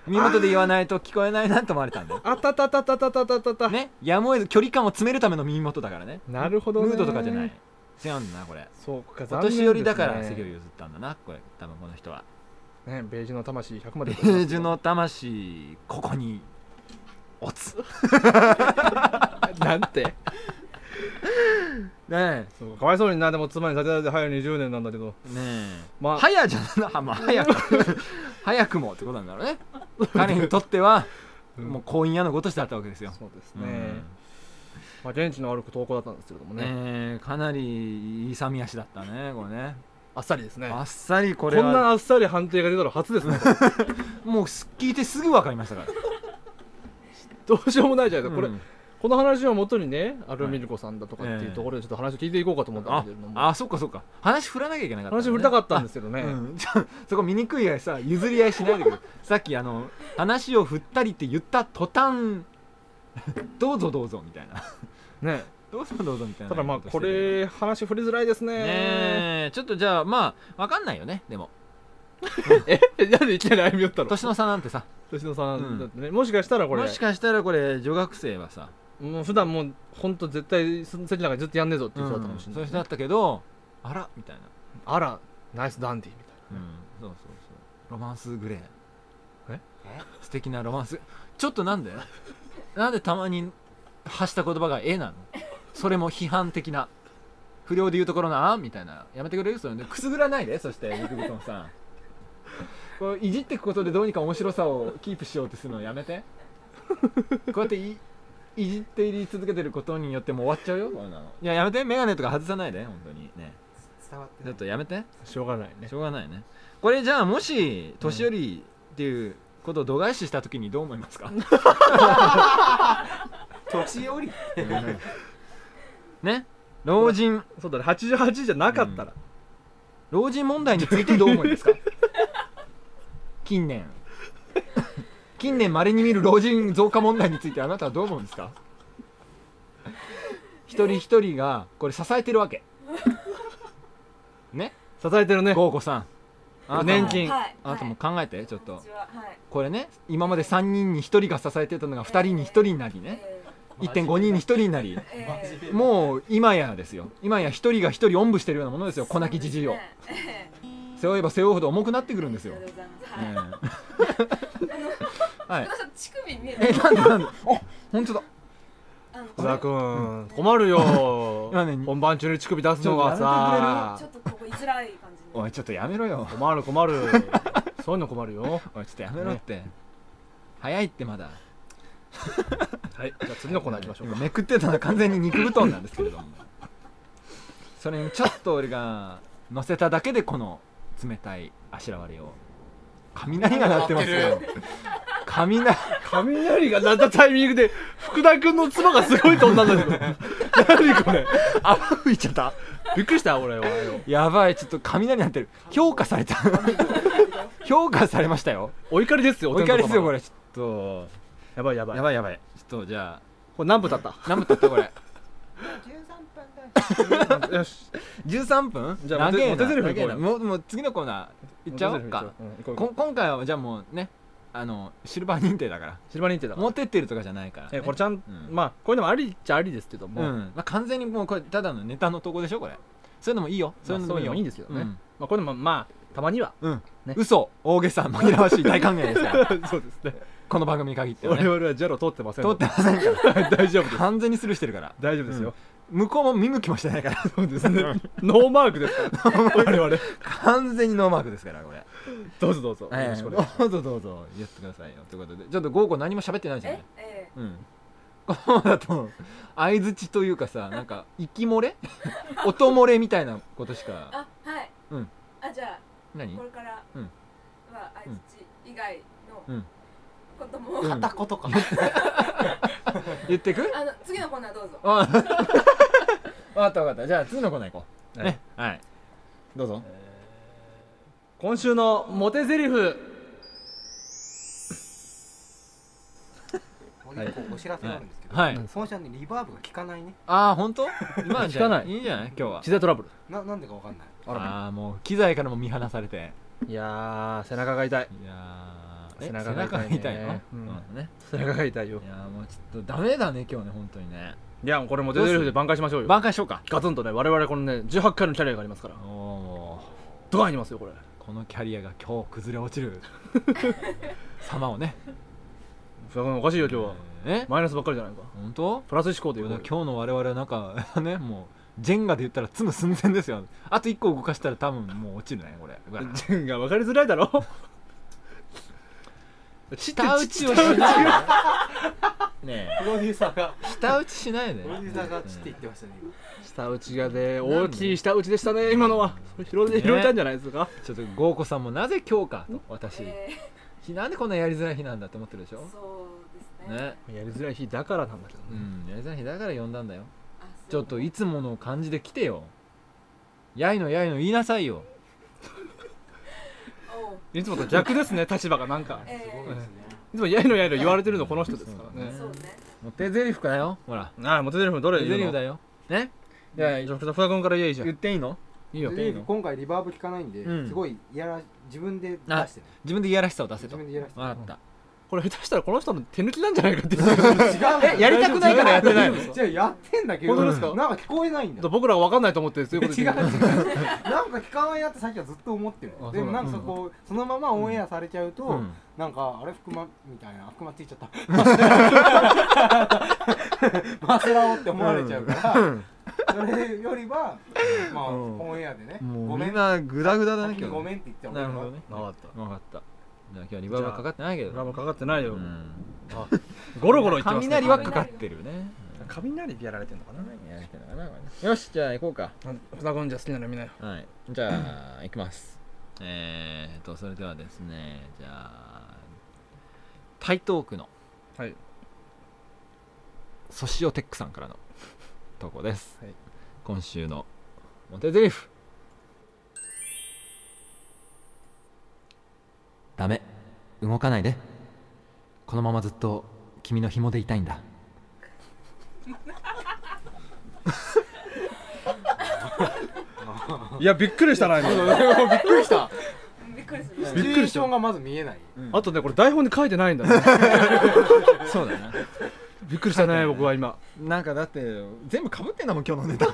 [SPEAKER 2] 耳元で言わないと聞こえないなと思われたんだよ
[SPEAKER 1] あたたたたたたたたた、
[SPEAKER 2] ねやむを得ず距離感を詰めるための耳元だからね
[SPEAKER 1] なるほどね
[SPEAKER 2] ムードとかじゃない違うんだなこれ
[SPEAKER 1] そうか
[SPEAKER 2] お
[SPEAKER 1] 残念です、
[SPEAKER 2] 年
[SPEAKER 1] ね、
[SPEAKER 2] 寄りだから席を譲ったんだなこれ多分この人は
[SPEAKER 1] ねベージュの魂100まで
[SPEAKER 2] ベージュの魂ここにおつ
[SPEAKER 1] なんて
[SPEAKER 2] ね
[SPEAKER 1] そうかわいそうになでも妻に立てられて早20年なんだけど
[SPEAKER 2] えねえ
[SPEAKER 1] まあ
[SPEAKER 2] 早じゃな、まあ、早く 早くもってことなんだろうね彼にとっては
[SPEAKER 1] うん
[SPEAKER 2] もう婚姻屋のごとしだったわけですよ、
[SPEAKER 1] そうです
[SPEAKER 2] う
[SPEAKER 1] ね、
[SPEAKER 2] ん
[SPEAKER 1] まあ、現地の歩く投稿だったんですけれどもね
[SPEAKER 2] ねえかなり勇み足だったねこれね
[SPEAKER 1] あっさりですね
[SPEAKER 2] あっさりこ
[SPEAKER 1] こ
[SPEAKER 2] れ
[SPEAKER 1] ん
[SPEAKER 2] は
[SPEAKER 1] なあっさり判定が出たの初ですね
[SPEAKER 2] もうす聞いてすぐ分かりましたから
[SPEAKER 1] どうしようもないじゃないですか、
[SPEAKER 2] う
[SPEAKER 1] こ
[SPEAKER 2] ん
[SPEAKER 1] れこの話をもとにねアルミルコさんだとか
[SPEAKER 2] はい
[SPEAKER 1] っていうところでちょっと話を聞いていこうかと思ったんだ
[SPEAKER 2] あ
[SPEAKER 1] けれども、
[SPEAKER 2] あそっかそっか話振らなきゃいけなかった、
[SPEAKER 1] 話振りたかったんですすけどね、
[SPEAKER 2] うん、ちょそこ醜いがさ譲り合いしないで くれさっきあの話を振ったりって言った途端どうぞどうぞみたいな
[SPEAKER 1] ね
[SPEAKER 2] どうぞどうぞみたいな
[SPEAKER 1] ただまあ
[SPEAKER 2] ことし
[SPEAKER 1] こ
[SPEAKER 2] てる
[SPEAKER 1] れ話振りづらいですね
[SPEAKER 2] ねえちょっとじゃあまあわかんないよねでも
[SPEAKER 1] えなんでいきなり歩み寄ったの
[SPEAKER 2] 年の差なんてさ
[SPEAKER 1] 年野さんだってね、もしかしたらこれ
[SPEAKER 2] もしかしたらこれ女学生はさ
[SPEAKER 1] もう普段もう本当絶対その席なんかずっとやんねえぞっていう人だったかもしれない、
[SPEAKER 2] そういう人だったけどあらみたいな、
[SPEAKER 1] あらナイスダンディみたい
[SPEAKER 2] うん、そうそうそうロマンスグレー
[SPEAKER 1] え
[SPEAKER 2] 素敵なロマンスちょっとなんでなんでたまに発した言葉が「え」なのそれも批判的な不良で言うところの「あ」みたいなやめてくれるそういうのくすぐらないでそしてビクブトンさんこういじっていくことでどうにか面白さをキープしようとするのやめてこうやっていいじっていり続けてることによってもう終わっちゃうよこんなのいややめて眼鏡とか外さないで本当にね
[SPEAKER 4] 伝わって
[SPEAKER 2] ち
[SPEAKER 4] な
[SPEAKER 2] ょ
[SPEAKER 4] い
[SPEAKER 2] っとやめて
[SPEAKER 1] なしょうがないね
[SPEAKER 2] しょうがないねこれじゃあもし年寄りっていうことを度外視した時にどう思いますか
[SPEAKER 4] 年寄り
[SPEAKER 2] ね老人
[SPEAKER 1] そうだね88じゃなかったら、
[SPEAKER 2] 老人問題についてどう思 いますか近年近年まれに見る老人増加問題についてあなたはどう思うんですか一人一人がこれ支えてる わけね
[SPEAKER 1] 支えてるね
[SPEAKER 2] ゴーゴさんあなたも
[SPEAKER 1] 年金
[SPEAKER 5] はい
[SPEAKER 2] あなたも考えてちょっと
[SPEAKER 5] 私ははい
[SPEAKER 2] これね今まで3人に1人が支えてたのが2人に1人になりね
[SPEAKER 5] え
[SPEAKER 2] 1.5人に1人になり
[SPEAKER 5] ーえー
[SPEAKER 2] もう今やですよ今や1人が1人おんぶしてるようなものですよ粉きじじいを
[SPEAKER 5] ねえ
[SPEAKER 2] 背負えば背負うほど重くなってくるんです
[SPEAKER 5] ー
[SPEAKER 2] よ、
[SPEAKER 5] ありがとうございますは
[SPEAKER 2] ねえ はい
[SPEAKER 5] いなんか乳首見えな
[SPEAKER 2] え
[SPEAKER 5] い
[SPEAKER 2] なんでなんであ本当だ
[SPEAKER 5] あの
[SPEAKER 1] 福田君困るよ
[SPEAKER 2] 今ね
[SPEAKER 1] 本番中に乳首出すのがさ
[SPEAKER 5] ちょっとここ居づらい感じに
[SPEAKER 2] おいちょっとやめろよ
[SPEAKER 1] 困る困るそういうの困るよ
[SPEAKER 2] おいちょっとやめろって、早いってまだ
[SPEAKER 1] はいじゃあ次のコーナー行きましょう
[SPEAKER 2] 今めくってたのは完全に肉布団なんですけれどもそれにちょっと俺が乗せただけでこの冷たいあしらわれを雷が鳴ってますよ雷
[SPEAKER 1] 雷が鳴ったタイミングで福田君の妻がすごい飛んだんだけど何これ
[SPEAKER 2] 泡吹いちゃった
[SPEAKER 1] びっくりした俺はよ
[SPEAKER 2] やばいちょっと雷鳴ってる評価された評価されましたよ
[SPEAKER 1] お怒りですよ
[SPEAKER 2] お怒りですよこ
[SPEAKER 1] れ
[SPEAKER 2] れちょっ
[SPEAKER 1] やばいやばい
[SPEAKER 2] とやばいやばいちょっとじゃ
[SPEAKER 1] これ何分経った
[SPEAKER 2] あ何分経ったこれ
[SPEAKER 1] よし
[SPEAKER 2] 13分
[SPEAKER 1] じゃあ
[SPEAKER 2] 長えな
[SPEAKER 1] モテゼリフ行こうよ
[SPEAKER 2] 長えなもうもう次のコーナー行っちゃおうか
[SPEAKER 1] うん行こう行こ
[SPEAKER 2] こ今回はじゃあもうねあのシルバー認定だから
[SPEAKER 1] うシルバー認定だから
[SPEAKER 2] モテってるとかじゃないから、ね、
[SPEAKER 1] えこれちゃん
[SPEAKER 2] うん
[SPEAKER 1] まあこういうのもありっちゃありですけど
[SPEAKER 2] うん
[SPEAKER 1] も
[SPEAKER 2] まあ、完全にもうこれただのネタのとこでしょこれそういうのもいいよそういうの
[SPEAKER 1] まあそう
[SPEAKER 2] もい
[SPEAKER 1] いう
[SPEAKER 2] い
[SPEAKER 1] の
[SPEAKER 2] よ、
[SPEAKER 1] もいいんですけどね
[SPEAKER 2] うん
[SPEAKER 1] まあこういうのもまあたま には
[SPEAKER 2] うん
[SPEAKER 1] ね
[SPEAKER 2] 嘘大げさ紛らわしい大歓迎です から
[SPEAKER 1] そうですね
[SPEAKER 2] この番組に限っては
[SPEAKER 1] 我
[SPEAKER 2] ね
[SPEAKER 1] 々はジャロ通ってません
[SPEAKER 2] 通ってませんか ら
[SPEAKER 1] 大丈夫です
[SPEAKER 2] 完全にスルーしてるから
[SPEAKER 1] 大丈夫ですよ、
[SPEAKER 2] 向こうも見向きもしてないから
[SPEAKER 1] そうですね ノーマークです から我々
[SPEAKER 2] 完全にノーマークですからこれ
[SPEAKER 1] どうぞどうぞ、
[SPEAKER 2] え
[SPEAKER 1] よ
[SPEAKER 2] え
[SPEAKER 1] ろしくお願いし
[SPEAKER 2] どうぞどうぞ言ってくださいよということでちょっとゴーゴー何も喋ってないじゃな
[SPEAKER 5] え
[SPEAKER 2] い
[SPEAKER 5] え
[SPEAKER 2] うんこのままだと相づちというかさなんか息漏れ 音漏れみたいなことし
[SPEAKER 5] ー
[SPEAKER 2] か
[SPEAKER 5] あはい
[SPEAKER 2] うん
[SPEAKER 5] あじゃあ
[SPEAKER 2] 何
[SPEAKER 5] これからは
[SPEAKER 2] うん
[SPEAKER 5] 相づち以外
[SPEAKER 2] う
[SPEAKER 5] の
[SPEAKER 2] ん
[SPEAKER 5] ことも
[SPEAKER 2] うん
[SPEAKER 4] 片言か
[SPEAKER 2] 言ってく
[SPEAKER 5] あの次のコーナーどうぞ
[SPEAKER 2] あ わかったわかったじゃあ次のコーナー行こう
[SPEAKER 1] ます、
[SPEAKER 2] ねはいどうぞ
[SPEAKER 1] 今週のモテゼリフ
[SPEAKER 4] これ一個お知らせがあるんですけど、
[SPEAKER 2] はい
[SPEAKER 1] はい
[SPEAKER 4] その人にリバーブが効かないね
[SPEAKER 2] ああ本当今のじゃ
[SPEAKER 1] 聞かない
[SPEAKER 2] いいんじゃない今日は
[SPEAKER 1] 自在トラブル
[SPEAKER 4] ななんでかわかんない
[SPEAKER 1] あら
[SPEAKER 2] ああもう機材からも見放されて
[SPEAKER 1] いやー背中が痛い
[SPEAKER 2] いやー
[SPEAKER 1] 背
[SPEAKER 2] え背
[SPEAKER 1] 中
[SPEAKER 2] 中
[SPEAKER 1] が痛いね
[SPEAKER 2] みたいな、
[SPEAKER 1] うん
[SPEAKER 2] そうだね
[SPEAKER 1] 背中が痛いよ
[SPEAKER 2] いやーもうちょっとダメだね今日ね本当にね
[SPEAKER 1] いやこれもうデドリフで挽回しましょうよ
[SPEAKER 2] 挽回しようか
[SPEAKER 1] ガツンとね我々このね18回のキャリアがありますから
[SPEAKER 2] おお
[SPEAKER 1] ドカンいきますよこれ
[SPEAKER 2] このキャリアが今日崩れ落ちる様をね
[SPEAKER 1] おかしいよ今日は
[SPEAKER 2] え
[SPEAKER 1] マイナスばっかりじゃないか
[SPEAKER 2] 本当
[SPEAKER 1] プラス思考でい
[SPEAKER 2] 今
[SPEAKER 1] こうよ
[SPEAKER 2] 日の我々はなんか ねもうジェンガで言ったら詰む寸前ですよあと1個動かしたら多分もう落ちるね これうわ
[SPEAKER 1] ジ ェンが分かりづらいだ ろ
[SPEAKER 2] 下打ちをしないで ね
[SPEAKER 4] プロデューサーが
[SPEAKER 2] え下打ちしないで
[SPEAKER 4] プロデューサーがちって言ってましたね今
[SPEAKER 1] 下打ちがね大きい下打ちでしたね今のはそれ拾え
[SPEAKER 2] ね
[SPEAKER 1] 拾えたんじゃないですか
[SPEAKER 2] ちょっと豪子さんもなぜ今日かと私
[SPEAKER 5] え
[SPEAKER 2] ひなんでこんなやりづらい日なんだって思ってるでし
[SPEAKER 5] ー
[SPEAKER 2] ょ
[SPEAKER 5] そうですね
[SPEAKER 2] ね
[SPEAKER 1] やりづらい日だからなんだけど
[SPEAKER 2] う
[SPEAKER 1] ね
[SPEAKER 2] んやりづらい日だから呼んだんだよ
[SPEAKER 5] あそ
[SPEAKER 2] ちょ
[SPEAKER 5] う
[SPEAKER 2] っといつもの感じで来てよやいのやいの言いなさいよ
[SPEAKER 5] おう
[SPEAKER 1] いつもと逆ですね立場がなんか
[SPEAKER 5] え
[SPEAKER 4] すごいですね
[SPEAKER 1] いつもやいのやいの言われてるのこの人ですから
[SPEAKER 5] ー
[SPEAKER 1] ね
[SPEAKER 5] そうね
[SPEAKER 2] もう手ゼリフだよほら
[SPEAKER 1] ああもうテレフどれ
[SPEAKER 2] 手
[SPEAKER 1] 言
[SPEAKER 2] ゼ
[SPEAKER 1] う
[SPEAKER 2] リフ
[SPEAKER 1] の
[SPEAKER 2] だよね
[SPEAKER 1] いやいや福田君から言えいいじゃん
[SPEAKER 2] 言っていいの
[SPEAKER 1] いいよ
[SPEAKER 4] とりあえず今回リバーブ効かないんで、
[SPEAKER 2] うん
[SPEAKER 4] すごいいやら自分で出してね
[SPEAKER 2] 自分でいやらしさを出せと
[SPEAKER 4] 自分でいやらしさ
[SPEAKER 2] わかった
[SPEAKER 1] これ下手したらこの人の手抜きなんじゃないかって
[SPEAKER 4] 違う
[SPEAKER 1] え やりたくないからやって ないの
[SPEAKER 4] じゃあやってんだけど
[SPEAKER 1] 本当ですか
[SPEAKER 4] なんか聞こえないんだよ
[SPEAKER 1] 僕らは分かんないと思ってそういうこと
[SPEAKER 4] 違う違う
[SPEAKER 1] 言ってる
[SPEAKER 4] なんか聞かないなってさっきはずっと思ってる
[SPEAKER 1] あ
[SPEAKER 4] でもなんか
[SPEAKER 1] そう
[SPEAKER 4] そ
[SPEAKER 1] な
[SPEAKER 4] こうそのままオンエアされちゃうと、
[SPEAKER 2] うん
[SPEAKER 4] なんかあれ福間みたいな福間ついちゃったマセラオって思われちゃうから、それよりはまあ、
[SPEAKER 2] うん
[SPEAKER 4] オンエアでね
[SPEAKER 2] も
[SPEAKER 4] ご
[SPEAKER 2] う
[SPEAKER 4] め
[SPEAKER 2] みん
[SPEAKER 4] ん
[SPEAKER 2] なグダグダだ
[SPEAKER 4] さ
[SPEAKER 2] ね
[SPEAKER 4] っき
[SPEAKER 2] 今日
[SPEAKER 4] ごめんって言ってた
[SPEAKER 2] なるほどね
[SPEAKER 1] 分かった
[SPEAKER 2] わかったじゃあ今日はリバーブはかかってないけど
[SPEAKER 1] ラブかかってないよ
[SPEAKER 2] うん
[SPEAKER 1] あゴロゴロ言ってますね
[SPEAKER 2] 雷はかかってるね
[SPEAKER 1] 雷でやられてんのかな
[SPEAKER 2] うんやりたいのかなこれねよしじゃあ行こうか
[SPEAKER 1] 福田君じゃ好きなの見なよ
[SPEAKER 2] はい、じゃあ、行きます。えーと、それではですね、じゃあ、台東区の
[SPEAKER 1] はい
[SPEAKER 2] ソシオテックさんからの投稿です。
[SPEAKER 1] はい
[SPEAKER 2] 今週のモテゼリフダメ、動かないで。このままずっと君の紐でいたいんだ。
[SPEAKER 1] いやびっくりしたな今
[SPEAKER 4] びっくりした
[SPEAKER 5] びっくりする
[SPEAKER 4] シ
[SPEAKER 1] び
[SPEAKER 4] チ
[SPEAKER 1] っくりした
[SPEAKER 4] ュエーションがまず見えない
[SPEAKER 1] あとねこれ台本に書いてないん だね
[SPEAKER 2] そうだな。
[SPEAKER 1] びっくりしたね僕は今
[SPEAKER 2] なんかだって、全部かぶってんだもん、今日のネ タ。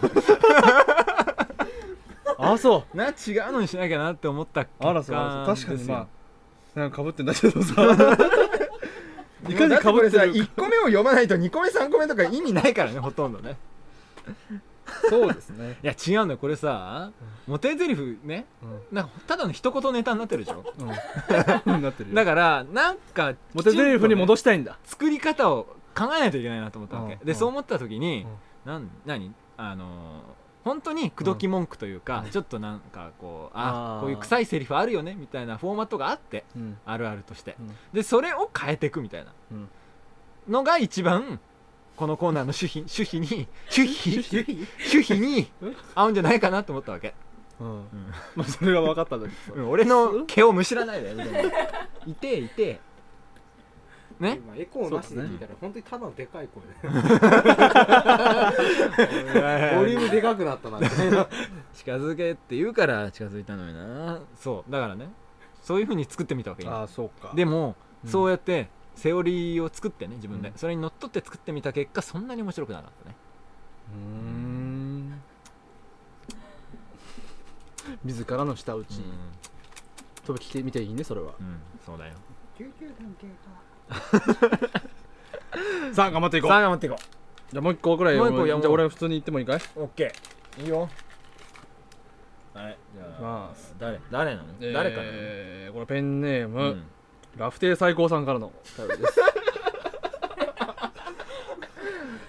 [SPEAKER 1] あそう
[SPEAKER 2] な違うのにしなきゃなって思った結
[SPEAKER 1] あらそうあらそう確かにまあなんか被ってんだけどさ
[SPEAKER 2] い
[SPEAKER 1] い
[SPEAKER 2] か
[SPEAKER 1] か
[SPEAKER 2] に
[SPEAKER 1] に
[SPEAKER 2] か
[SPEAKER 1] か
[SPEAKER 2] ぶ
[SPEAKER 1] ぶ
[SPEAKER 2] っ
[SPEAKER 1] ってて
[SPEAKER 2] る
[SPEAKER 1] る
[SPEAKER 2] 1個目を読まないと2個目3個目とか意味ないからねほとんどね
[SPEAKER 1] そうですね
[SPEAKER 2] いや違うんだよこれさモテゼリフねなんかただの一言ネタになってるでしょ
[SPEAKER 1] うんなってる
[SPEAKER 2] だ
[SPEAKER 1] よ
[SPEAKER 2] からなんか
[SPEAKER 1] モテゼリフに戻したいんだ
[SPEAKER 2] きちんとね作り方を考えないといけないなと思ったわけ
[SPEAKER 1] うん
[SPEAKER 2] で
[SPEAKER 1] うん
[SPEAKER 2] そう思った時に
[SPEAKER 1] うん
[SPEAKER 2] なん何あのー本当に口説き文句というかちょっとなんかこうあ
[SPEAKER 1] あー
[SPEAKER 2] こういう臭いセリフあるよねみたいなフォーマットがあって
[SPEAKER 1] うん
[SPEAKER 2] あるあるとして
[SPEAKER 1] うん
[SPEAKER 2] でそれを変えていくみたいな
[SPEAKER 1] うん
[SPEAKER 2] のが一番このコーナーの主 皮主皮に主皮
[SPEAKER 1] 主
[SPEAKER 2] 主皮に
[SPEAKER 1] うん
[SPEAKER 2] 合うんじゃないかなと思ったわけ、
[SPEAKER 1] うんまあそれは分かったんだけど
[SPEAKER 2] うん俺の毛をむしらないでみたいないていてね
[SPEAKER 4] 今エコーなしで聞いたら本当にただのでかい声でボリュームでかくなったなみたいな
[SPEAKER 2] 近づけって言うから近づいたのになそうだからねそういうふうに作ってみたわけ今
[SPEAKER 1] ああそうか
[SPEAKER 2] でも、
[SPEAKER 1] うん
[SPEAKER 2] そうやってセオリーを作ってね自分で、
[SPEAKER 1] うん
[SPEAKER 2] それにのっとって作ってみた結果そんなに面白くなかったね
[SPEAKER 1] うーん自らの舌打ち、と聞いてみていいねそれは
[SPEAKER 2] うん、そうだよ
[SPEAKER 1] さあ頑張っていこう
[SPEAKER 2] さあ頑張っていこ
[SPEAKER 1] じゃあもう一個ぐらい
[SPEAKER 2] もう一個
[SPEAKER 1] じゃ
[SPEAKER 2] やろう
[SPEAKER 1] あ俺普通に言ってもいいかいう
[SPEAKER 2] オッケーいいよはいじゃあ
[SPEAKER 1] まあ
[SPEAKER 2] 誰誰なの、誰かなの
[SPEAKER 1] えーこれペンネーム、
[SPEAKER 2] うん
[SPEAKER 1] ラフテー最高さんからの お便りです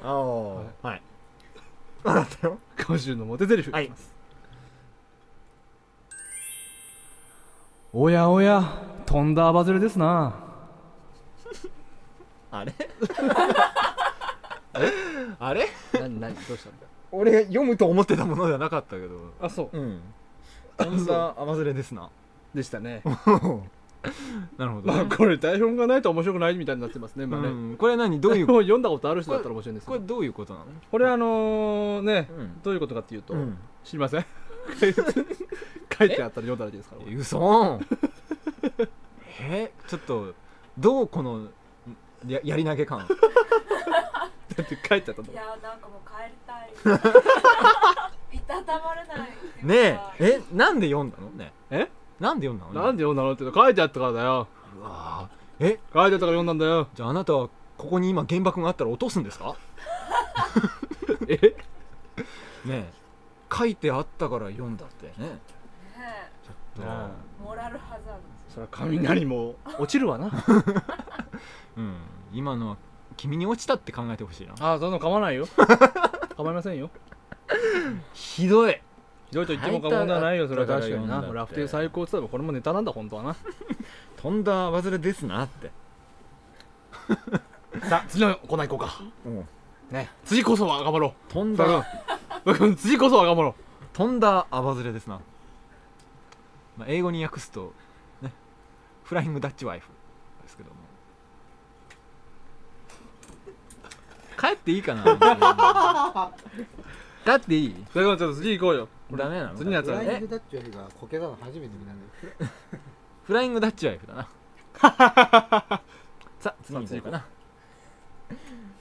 [SPEAKER 2] ああはい
[SPEAKER 1] 今週のモテゼリフ、
[SPEAKER 2] はい
[SPEAKER 1] おやおやとんだアバズレですな
[SPEAKER 2] あれあれ
[SPEAKER 1] 何何どうしたの
[SPEAKER 2] 俺が読むと思ってたものではなかったけど
[SPEAKER 1] あそう
[SPEAKER 2] うんそんなあまずれですな
[SPEAKER 1] でしたね
[SPEAKER 2] なるほど
[SPEAKER 1] ま
[SPEAKER 2] ね、
[SPEAKER 1] あこれ台本がないと面白くないみたいになってますね今ね、
[SPEAKER 2] うん、これ何どういう
[SPEAKER 1] 台本読んだことある人だったら面白いんですけ
[SPEAKER 2] これ
[SPEAKER 1] ど
[SPEAKER 2] どういうことなの
[SPEAKER 1] これあのね、
[SPEAKER 2] うん
[SPEAKER 1] どういうことかっていうと、
[SPEAKER 2] うん
[SPEAKER 1] 知りません 書いてあったら読んだだけですから
[SPEAKER 2] うそんえちょっとどうこのややり投げ感
[SPEAKER 1] だって書いてあったの
[SPEAKER 5] いやなんかもう帰りた いいたたまれないっていうか
[SPEAKER 2] ねええなんで読んだのね
[SPEAKER 1] え
[SPEAKER 2] なんで読んだの
[SPEAKER 1] なんで読んだのって書いてあったからだよ
[SPEAKER 2] うわーえ
[SPEAKER 1] 書いてあったから読んだんだよ
[SPEAKER 2] じゃああなたはここに今原爆があったら落とすんですか
[SPEAKER 1] え
[SPEAKER 2] ねえ書いてあったから読んだってね
[SPEAKER 5] ねモラルハザード
[SPEAKER 1] そりゃ雷も落ちるわな
[SPEAKER 2] うん今のは君に落ちたって考えてほしいな
[SPEAKER 1] ああそんなの構わないよ構いませんよ
[SPEAKER 2] ひどい
[SPEAKER 1] ひどいと言っても過言ではないよそれは確か
[SPEAKER 2] 書い
[SPEAKER 1] に
[SPEAKER 2] てあっ
[SPEAKER 1] な
[SPEAKER 2] たから読んだって
[SPEAKER 1] ラフテー最高って言ったらこれもネタなんだ本当はな
[SPEAKER 2] とんだ忘れですなって
[SPEAKER 1] さあ次のコーナー行こうか
[SPEAKER 2] うん
[SPEAKER 1] ね次こそは頑張ろ
[SPEAKER 2] と
[SPEAKER 1] うん
[SPEAKER 2] だ
[SPEAKER 1] だから 次こそは頑張ろ
[SPEAKER 2] とんだあばずれですな、まあ、英語に訳すと、ね、フライングダッチワイフですけども帰っていい かなだっていいう
[SPEAKER 1] だからちょっと次行こうよ
[SPEAKER 2] ダメなの
[SPEAKER 1] 次のやつ
[SPEAKER 4] フ
[SPEAKER 1] は
[SPEAKER 4] ライン
[SPEAKER 1] ね
[SPEAKER 4] グダッチよりがこけたの初めて見たんだけど
[SPEAKER 2] フライングダッチワイフだ なさあ次に行こうかな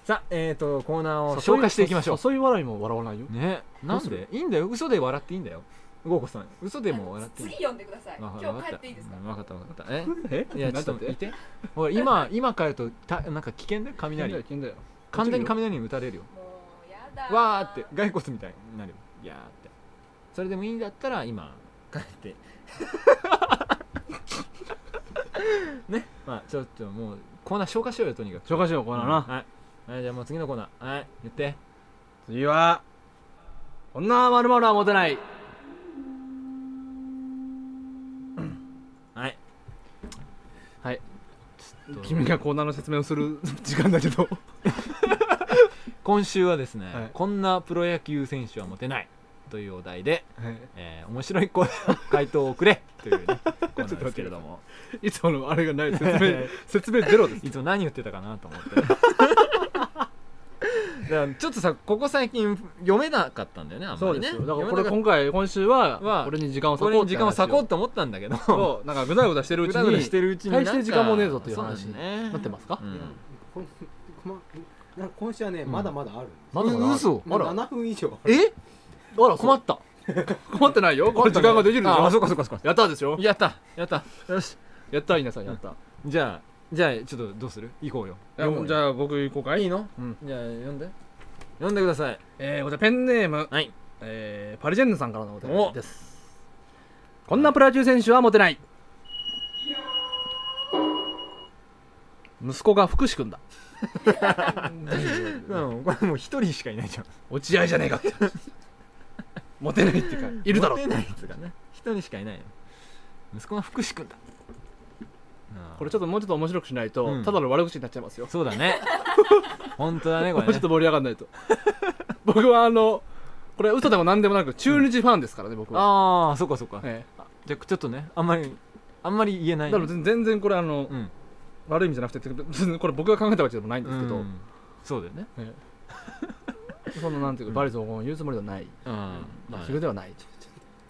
[SPEAKER 2] さあえっ、ー、とコーナーを紹介していきましょ
[SPEAKER 1] そういう笑いも笑わないよ
[SPEAKER 2] うねなんでいいんだよ嘘で笑っていいんだよゴーコさん嘘でも笑っていい
[SPEAKER 5] 次読んでください
[SPEAKER 2] わ
[SPEAKER 5] 今
[SPEAKER 2] かわか
[SPEAKER 5] 日帰
[SPEAKER 2] た
[SPEAKER 5] っていいですか
[SPEAKER 2] うんわかったわかったえ
[SPEAKER 1] え
[SPEAKER 2] いやちょ
[SPEAKER 1] な
[SPEAKER 2] っ
[SPEAKER 1] んだ
[SPEAKER 2] と
[SPEAKER 1] って
[SPEAKER 2] いてほら今今帰るとたなんか危険だよ
[SPEAKER 1] 雷
[SPEAKER 2] 雷
[SPEAKER 1] 危険だよ
[SPEAKER 2] 完全に雷に打たれるよ
[SPEAKER 5] もうやだ
[SPEAKER 2] わーって骸骨みたいになるよいやーってそれでもいいんだったら今帰って ねまあちょっともうコーナー消化しようよとにかく
[SPEAKER 1] 紹介しようコーナーな
[SPEAKER 2] はい、はい、じゃあもう次のコーナーはい言って
[SPEAKER 1] 次は女まるまるは持てない
[SPEAKER 2] はい
[SPEAKER 1] はい
[SPEAKER 2] ちょっと
[SPEAKER 1] 君がコーナーの説明をする 時間だけど
[SPEAKER 2] 今週はですね、
[SPEAKER 1] はい
[SPEAKER 2] こんなプロ野球選手はモテないというお題でえー、面白い声の回答をくれと いう、ね、コーナーですけれども
[SPEAKER 1] いつものあれがない説明説明ゼロです
[SPEAKER 2] いつも何言ってたかなと思ってだからちょっとさここ最近読めなかったんだよねあん ま
[SPEAKER 1] そう
[SPEAKER 2] り
[SPEAKER 1] で
[SPEAKER 2] ね
[SPEAKER 1] すよだからこれ
[SPEAKER 2] 読めな
[SPEAKER 1] 今回今週は
[SPEAKER 2] は
[SPEAKER 1] これに時間を
[SPEAKER 2] こ
[SPEAKER 1] 割
[SPEAKER 2] れ
[SPEAKER 1] こう
[SPEAKER 2] に時間を割こう
[SPEAKER 1] う
[SPEAKER 2] と思ったんだけど
[SPEAKER 1] そうなんかぐだぐだしてるう
[SPEAKER 2] ぐ
[SPEAKER 1] ち
[SPEAKER 2] だぐだして
[SPEAKER 1] に
[SPEAKER 2] るうちになんか
[SPEAKER 1] 大して時間もねえぞっていう話
[SPEAKER 2] そうだね
[SPEAKER 1] なってますか
[SPEAKER 2] うん
[SPEAKER 4] こんこま今週はねまだまだある
[SPEAKER 1] まだまだある
[SPEAKER 2] 嘘
[SPEAKER 4] ま
[SPEAKER 1] あ
[SPEAKER 4] だ
[SPEAKER 1] ら
[SPEAKER 4] 7分以上
[SPEAKER 2] え
[SPEAKER 1] あら
[SPEAKER 2] 困
[SPEAKER 1] 困
[SPEAKER 2] った
[SPEAKER 1] 困ってない よこれ時間ができるでし
[SPEAKER 2] ああそ
[SPEAKER 1] ょ
[SPEAKER 2] うかそうかそうか
[SPEAKER 1] やったでしょ
[SPEAKER 2] やったやったよし
[SPEAKER 1] やった皆さんやった
[SPEAKER 2] じゃあじゃあちょっとどうする行こうよ
[SPEAKER 1] いや
[SPEAKER 2] 読もうよ
[SPEAKER 1] じゃあ僕行こうかいいの
[SPEAKER 2] じゃあ読んで読んでください
[SPEAKER 1] えーこちらペンネーム
[SPEAKER 2] はい
[SPEAKER 1] えーパリジェンヌさんからのお手
[SPEAKER 2] お
[SPEAKER 1] 紙ですこんなプロ野球選手はモテない息子が福士君だ
[SPEAKER 2] うんこれもう一人しかいないじゃん
[SPEAKER 1] 落合じゃねえか ってモテないっていうかいるだろう
[SPEAKER 2] モテないやつがね人にしかいないよ息子が福士君だ
[SPEAKER 1] これちょっ
[SPEAKER 2] っ
[SPEAKER 1] ともうちょっと面白くしないと、
[SPEAKER 2] うん
[SPEAKER 1] ただの悪口になっちゃいますよ、
[SPEAKER 2] そうだ ね本当だねこ
[SPEAKER 1] も
[SPEAKER 2] れ
[SPEAKER 1] う
[SPEAKER 2] ね
[SPEAKER 1] ちょっと盛り上がんないと 僕はあのこれ嘘でも何でもなく中日ファンですからね、僕は、
[SPEAKER 2] ああそっかそっか、
[SPEAKER 1] え
[SPEAKER 2] じゃあちょっとねあんまりあんまり言えな
[SPEAKER 1] え
[SPEAKER 2] い
[SPEAKER 1] だから全全然これあの、
[SPEAKER 2] うん
[SPEAKER 1] 悪い意味じゃなくて別にこれ僕が考えたわけでもないんですけど、
[SPEAKER 2] うんそうだよね
[SPEAKER 1] ええそのなんていうか罵詈雑言を言うつもりではない、
[SPEAKER 2] うん、
[SPEAKER 1] まあ
[SPEAKER 2] はい
[SPEAKER 1] それではない、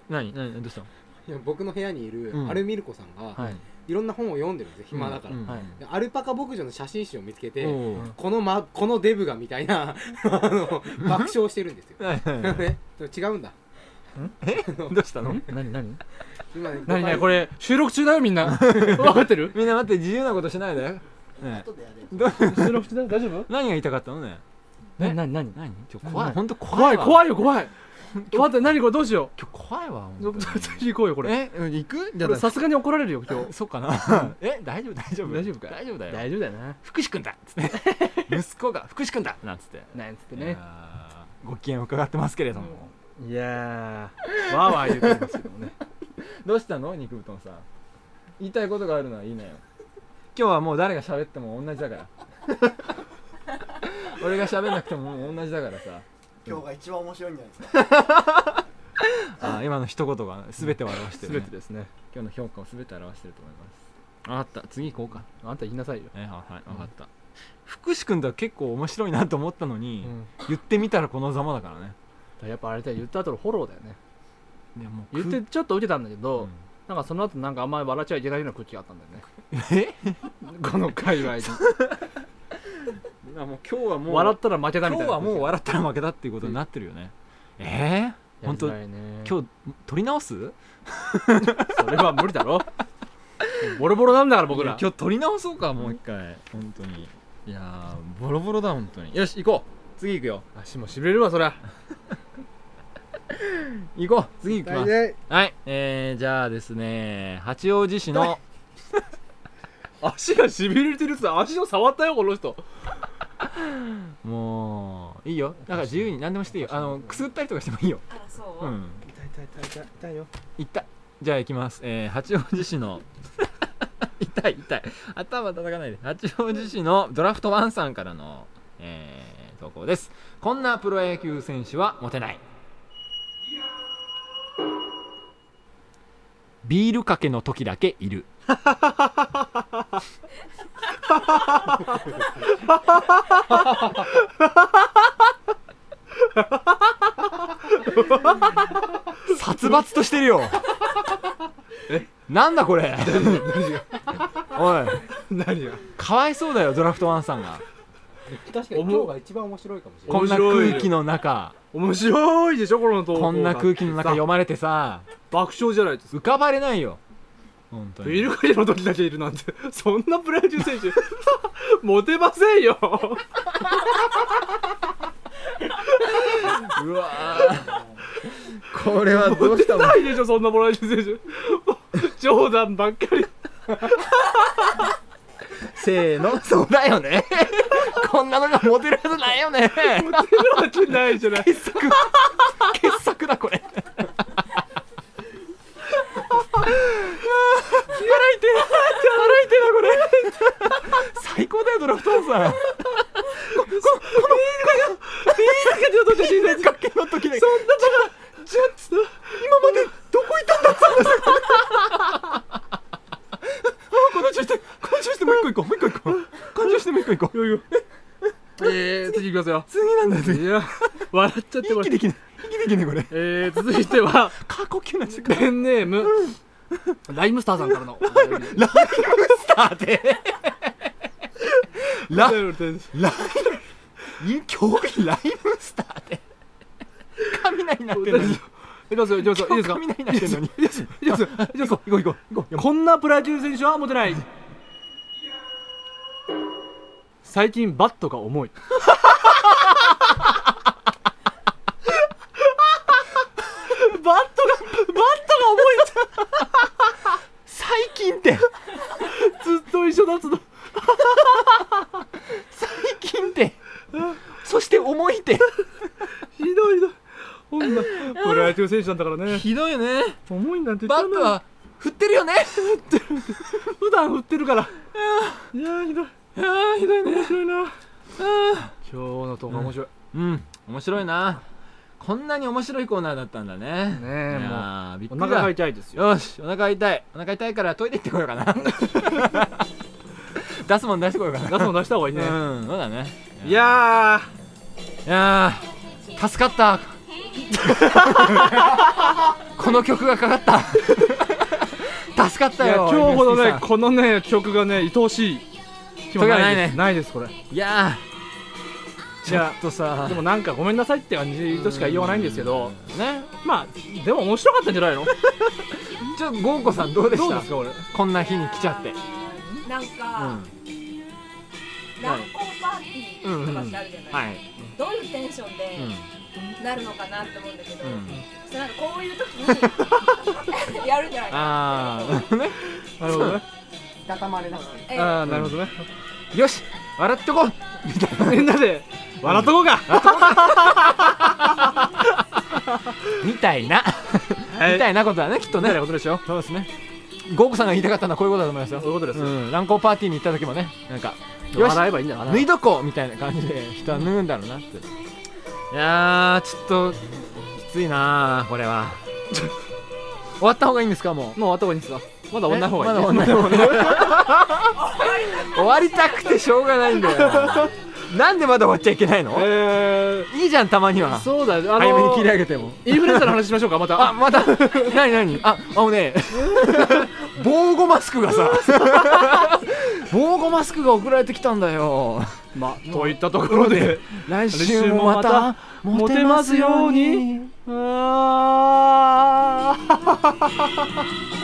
[SPEAKER 2] 何何どうしたの
[SPEAKER 4] いや僕の部屋にいる
[SPEAKER 2] うん
[SPEAKER 4] アルミルコさんが
[SPEAKER 1] はい
[SPEAKER 4] いろんな本を読んでるんですよ暇だから
[SPEAKER 2] うん
[SPEAKER 1] はい
[SPEAKER 4] でアルパカ牧場の写真集を見つけて
[SPEAKER 2] おー
[SPEAKER 4] この,、ま、このデブがみたいな あの爆笑してるんですよ
[SPEAKER 2] はいはいはい
[SPEAKER 4] ね違うんだ
[SPEAKER 2] どうしたの
[SPEAKER 1] 何 何
[SPEAKER 4] 今ね
[SPEAKER 1] 何何
[SPEAKER 4] こ
[SPEAKER 1] これ収録中だよみん な分かってる
[SPEAKER 2] みんな待って自由なことしないで、ね、
[SPEAKER 1] 収録中だよ大丈夫
[SPEAKER 2] 何が言いたかったのね
[SPEAKER 1] 何何何
[SPEAKER 2] 何ちょ怖い
[SPEAKER 1] 何
[SPEAKER 2] 本当怖
[SPEAKER 1] 怖
[SPEAKER 2] い
[SPEAKER 1] い
[SPEAKER 2] わ
[SPEAKER 1] 怖いよ怖い待って何これどうしよ
[SPEAKER 2] 今日怖いわ
[SPEAKER 1] う
[SPEAKER 2] 本当 に
[SPEAKER 1] 次行こうよこれ
[SPEAKER 2] え行くじ
[SPEAKER 1] これさすがに怒られるよ今日
[SPEAKER 2] そうかなえ大丈夫大丈夫
[SPEAKER 1] 大丈夫か
[SPEAKER 2] 大丈夫だ よ
[SPEAKER 1] 大丈夫だよな
[SPEAKER 2] 福士君だっつって息子が福士君だなんつって
[SPEAKER 1] なんつって
[SPEAKER 2] い
[SPEAKER 1] ね
[SPEAKER 2] やーご機嫌を伺ってますけれども、
[SPEAKER 1] いやーわーわー言うてますけどもね
[SPEAKER 2] どうしたの肉布団さん言いたいことがあるなら言いなよ今日はもう誰が喋っても同じだ から俺が喋んなくてももう同じだからさ
[SPEAKER 6] 今日が一番面白いんじゃないですか。
[SPEAKER 2] あー今の一言が全てを表してる、
[SPEAKER 1] 全
[SPEAKER 2] ね、
[SPEAKER 1] てですね
[SPEAKER 2] 今日の評価を全て表してると思います分かった次行こうか
[SPEAKER 1] あんた言いなさいよ、
[SPEAKER 2] えはいはい分かった、福士君とは結構面白いなと思ったの
[SPEAKER 1] う
[SPEAKER 2] に、
[SPEAKER 1] ん、だ
[SPEAKER 2] 言ってみたらこのざまだからね
[SPEAKER 1] からやっぱあれだよ言った後のフォローだよね
[SPEAKER 2] でもう
[SPEAKER 1] 言ってちょっと受けたんだけど、
[SPEAKER 2] うん
[SPEAKER 1] なんかその後なんかあんまり笑っちゃいけないような空気があったんだよね
[SPEAKER 2] え
[SPEAKER 1] この界隈に
[SPEAKER 2] あもう今日はもう
[SPEAKER 1] 笑ったら負けたみた
[SPEAKER 2] 今
[SPEAKER 1] い
[SPEAKER 2] 日
[SPEAKER 1] な空
[SPEAKER 2] は
[SPEAKER 1] 気
[SPEAKER 2] もう笑ったら負けだっていうことになってるよね、ええー、本当
[SPEAKER 1] やりづらいね
[SPEAKER 2] 今日取り直す
[SPEAKER 1] それは無理だ ろボロボロなんだから僕ら
[SPEAKER 2] いや今日取り直そうかもう一回本当にいやーボロボロだ本当によし行こう次行くよ
[SPEAKER 1] 足もしびれるわそりゃ
[SPEAKER 2] 行こう次行きま
[SPEAKER 6] 大
[SPEAKER 2] す
[SPEAKER 6] 体
[SPEAKER 2] はいえー、じゃあですね八王子市
[SPEAKER 6] 痛
[SPEAKER 2] の
[SPEAKER 6] い
[SPEAKER 1] 足がしびれてるっつって足を触ったよこの人
[SPEAKER 2] もういいよだから自由に何でもしていいよあのくすぐったりとかしてもいいよ
[SPEAKER 5] あそう、
[SPEAKER 2] うん
[SPEAKER 4] 痛い痛い痛い痛い痛いよ
[SPEAKER 2] いったじゃあ行きます、えー、八王子市の 痛い痛い頭叩かないで八王子市のドラフトワンさんからの、えー、投稿ですこんなプロ野球選手はモテないビールかけの時だけいる殺伐として るよなんだこれおい
[SPEAKER 1] 何が
[SPEAKER 2] かわいそうだよドラフトワンさんが
[SPEAKER 4] 確かに今日が一番面白いかもしれない
[SPEAKER 2] こんな
[SPEAKER 1] 面白い
[SPEAKER 2] 空気の中
[SPEAKER 1] 面白いでしょこの投稿
[SPEAKER 2] こんな空気の中読
[SPEAKER 1] さ
[SPEAKER 2] まれてさ
[SPEAKER 1] 爆笑じゃないですか
[SPEAKER 2] 浮かばれないよ本当に
[SPEAKER 1] ビールかけの時だけいるなんて そんなプロ野球選手 モテませんよ
[SPEAKER 2] うわーこれはどうしたの
[SPEAKER 1] ないでしょそんなプロ野球選手 もう冗談ばっか り
[SPEAKER 2] せーのそうだよね こんなのがモテるはずないよね
[SPEAKER 1] 出るわけないじゃ ない
[SPEAKER 2] 傑作傑作だこれ笑いて笑いてだこれ最高だよドラフトワンさんこのビールかけの時だけそんなバカじゃ今までどこ行ったんだっつうんですかこの調子でこの調子でもう一個行こうもう一個行こうこの調子でもう一個行こう
[SPEAKER 1] えー、次いきますよ
[SPEAKER 2] 次なんだよ次
[SPEAKER 1] いや笑っちゃってま
[SPEAKER 2] 息
[SPEAKER 1] す
[SPEAKER 2] できない息できないこれ
[SPEAKER 1] えー、続いては
[SPEAKER 2] 過呼吸な時間
[SPEAKER 1] ペンネーム ライムスターさんからの
[SPEAKER 2] ライムスターでラライム競技ライムスターで雷鳴ってんのに
[SPEAKER 1] いきますよいきますよいいですか
[SPEAKER 2] 雷鳴ってんのに
[SPEAKER 1] いきますよ
[SPEAKER 2] 行こう行こう行こう行こう
[SPEAKER 1] こんなプロ野球選手はモテない最近バットが重い
[SPEAKER 2] バットがバットが重い最近って
[SPEAKER 1] ずっと一緒だっつうの
[SPEAKER 2] 最近ってそして重いって
[SPEAKER 1] ひどいなほんなプロ野球選手なんだからね
[SPEAKER 2] ひどいよね
[SPEAKER 1] 重いなんて言
[SPEAKER 2] バ
[SPEAKER 1] っち
[SPEAKER 2] ッ
[SPEAKER 1] ゃ
[SPEAKER 2] ト
[SPEAKER 1] うな
[SPEAKER 2] は振ってるよね
[SPEAKER 1] 普段振ってるからいやーひどい
[SPEAKER 2] ああひどい
[SPEAKER 1] 面白いな今日の動画面白い、
[SPEAKER 2] うん面白いなこんなに面白いコーナーだったんだねね
[SPEAKER 1] えもう
[SPEAKER 2] もうびっく
[SPEAKER 1] お
[SPEAKER 2] りだ
[SPEAKER 1] 腹が痛いですよ
[SPEAKER 2] よしお腹痛いお腹痛いからトイレ行ってこようか な出すもん出してこようかな
[SPEAKER 1] ガスも出した方がいいね、
[SPEAKER 2] うんそうだね
[SPEAKER 1] いや
[SPEAKER 2] いやー助かった この曲がかかった助かっ
[SPEAKER 1] ーい
[SPEAKER 2] た
[SPEAKER 1] や
[SPEAKER 2] よ
[SPEAKER 1] 今日ほどね
[SPEAKER 2] MST さ
[SPEAKER 1] このね曲がね愛おしい気もないです
[SPEAKER 2] 時はないね
[SPEAKER 1] ないですこれ
[SPEAKER 2] んいや
[SPEAKER 1] い
[SPEAKER 2] ーちょっ
[SPEAKER 1] や
[SPEAKER 2] とさ
[SPEAKER 1] でもなんかごめんなさいって感じとしか言いようがないんですけど
[SPEAKER 2] ね
[SPEAKER 1] まあでも面白かったんじゃないの
[SPEAKER 2] ちょっとゴーコさんどうでし
[SPEAKER 1] どう
[SPEAKER 2] た
[SPEAKER 1] ですか俺
[SPEAKER 2] こんな日に来ちゃって
[SPEAKER 5] なん
[SPEAKER 2] う
[SPEAKER 5] か
[SPEAKER 2] ん、
[SPEAKER 5] 乱交パーティーとかってあるじゃない、
[SPEAKER 2] はい
[SPEAKER 5] どういうテンション
[SPEAKER 2] うん
[SPEAKER 5] でなるのかなって思うんだけど、
[SPEAKER 2] うん
[SPEAKER 5] そうなんかこういう時 に やるんじゃないかな
[SPEAKER 2] ああ ね
[SPEAKER 1] なるほどね
[SPEAKER 6] いたたまれながら
[SPEAKER 5] ええ
[SPEAKER 1] ああなるほどね
[SPEAKER 2] よし笑っとこうみたい な
[SPEAKER 1] みんなで笑っとこうか
[SPEAKER 2] みたいなみたいなことだねきっと
[SPEAKER 1] みたいな
[SPEAKER 2] ね
[SPEAKER 1] ことでしょ
[SPEAKER 2] そうですねゴーコさんが言いたかったのはこういうことだと思いますよ
[SPEAKER 1] そういうことですよ
[SPEAKER 2] ん、乱交パーティーに行った時もねなんかよし
[SPEAKER 1] 笑えばいいんだから
[SPEAKER 2] 脱いどこうみたいな感じで人は脱ぐんだろうなっていやーちょっとき ついなーこれは終わった方がいいんですかもう
[SPEAKER 1] もうあとこにすかまだ女の方がいい、
[SPEAKER 2] まだ女の方がいい 終わりたくてしょうがないんだよなんでまだ終わっちゃいけないの
[SPEAKER 1] え
[SPEAKER 2] いいじゃんたまには
[SPEAKER 1] ー、そうだ、あの
[SPEAKER 2] 早めに切り上げても
[SPEAKER 1] インフルエンザの話しましょうか、また。
[SPEAKER 2] あま たなになにああの ね防護マスクが さ防護マスクが送られてきたんだよ
[SPEAKER 1] まあ、といったところ で、
[SPEAKER 2] 来週もまたモ
[SPEAKER 1] モ
[SPEAKER 2] テ
[SPEAKER 1] テ
[SPEAKER 2] ま
[SPEAKER 1] ますす
[SPEAKER 2] よ
[SPEAKER 1] よ
[SPEAKER 2] う
[SPEAKER 1] う
[SPEAKER 2] に
[SPEAKER 1] に
[SPEAKER 2] あー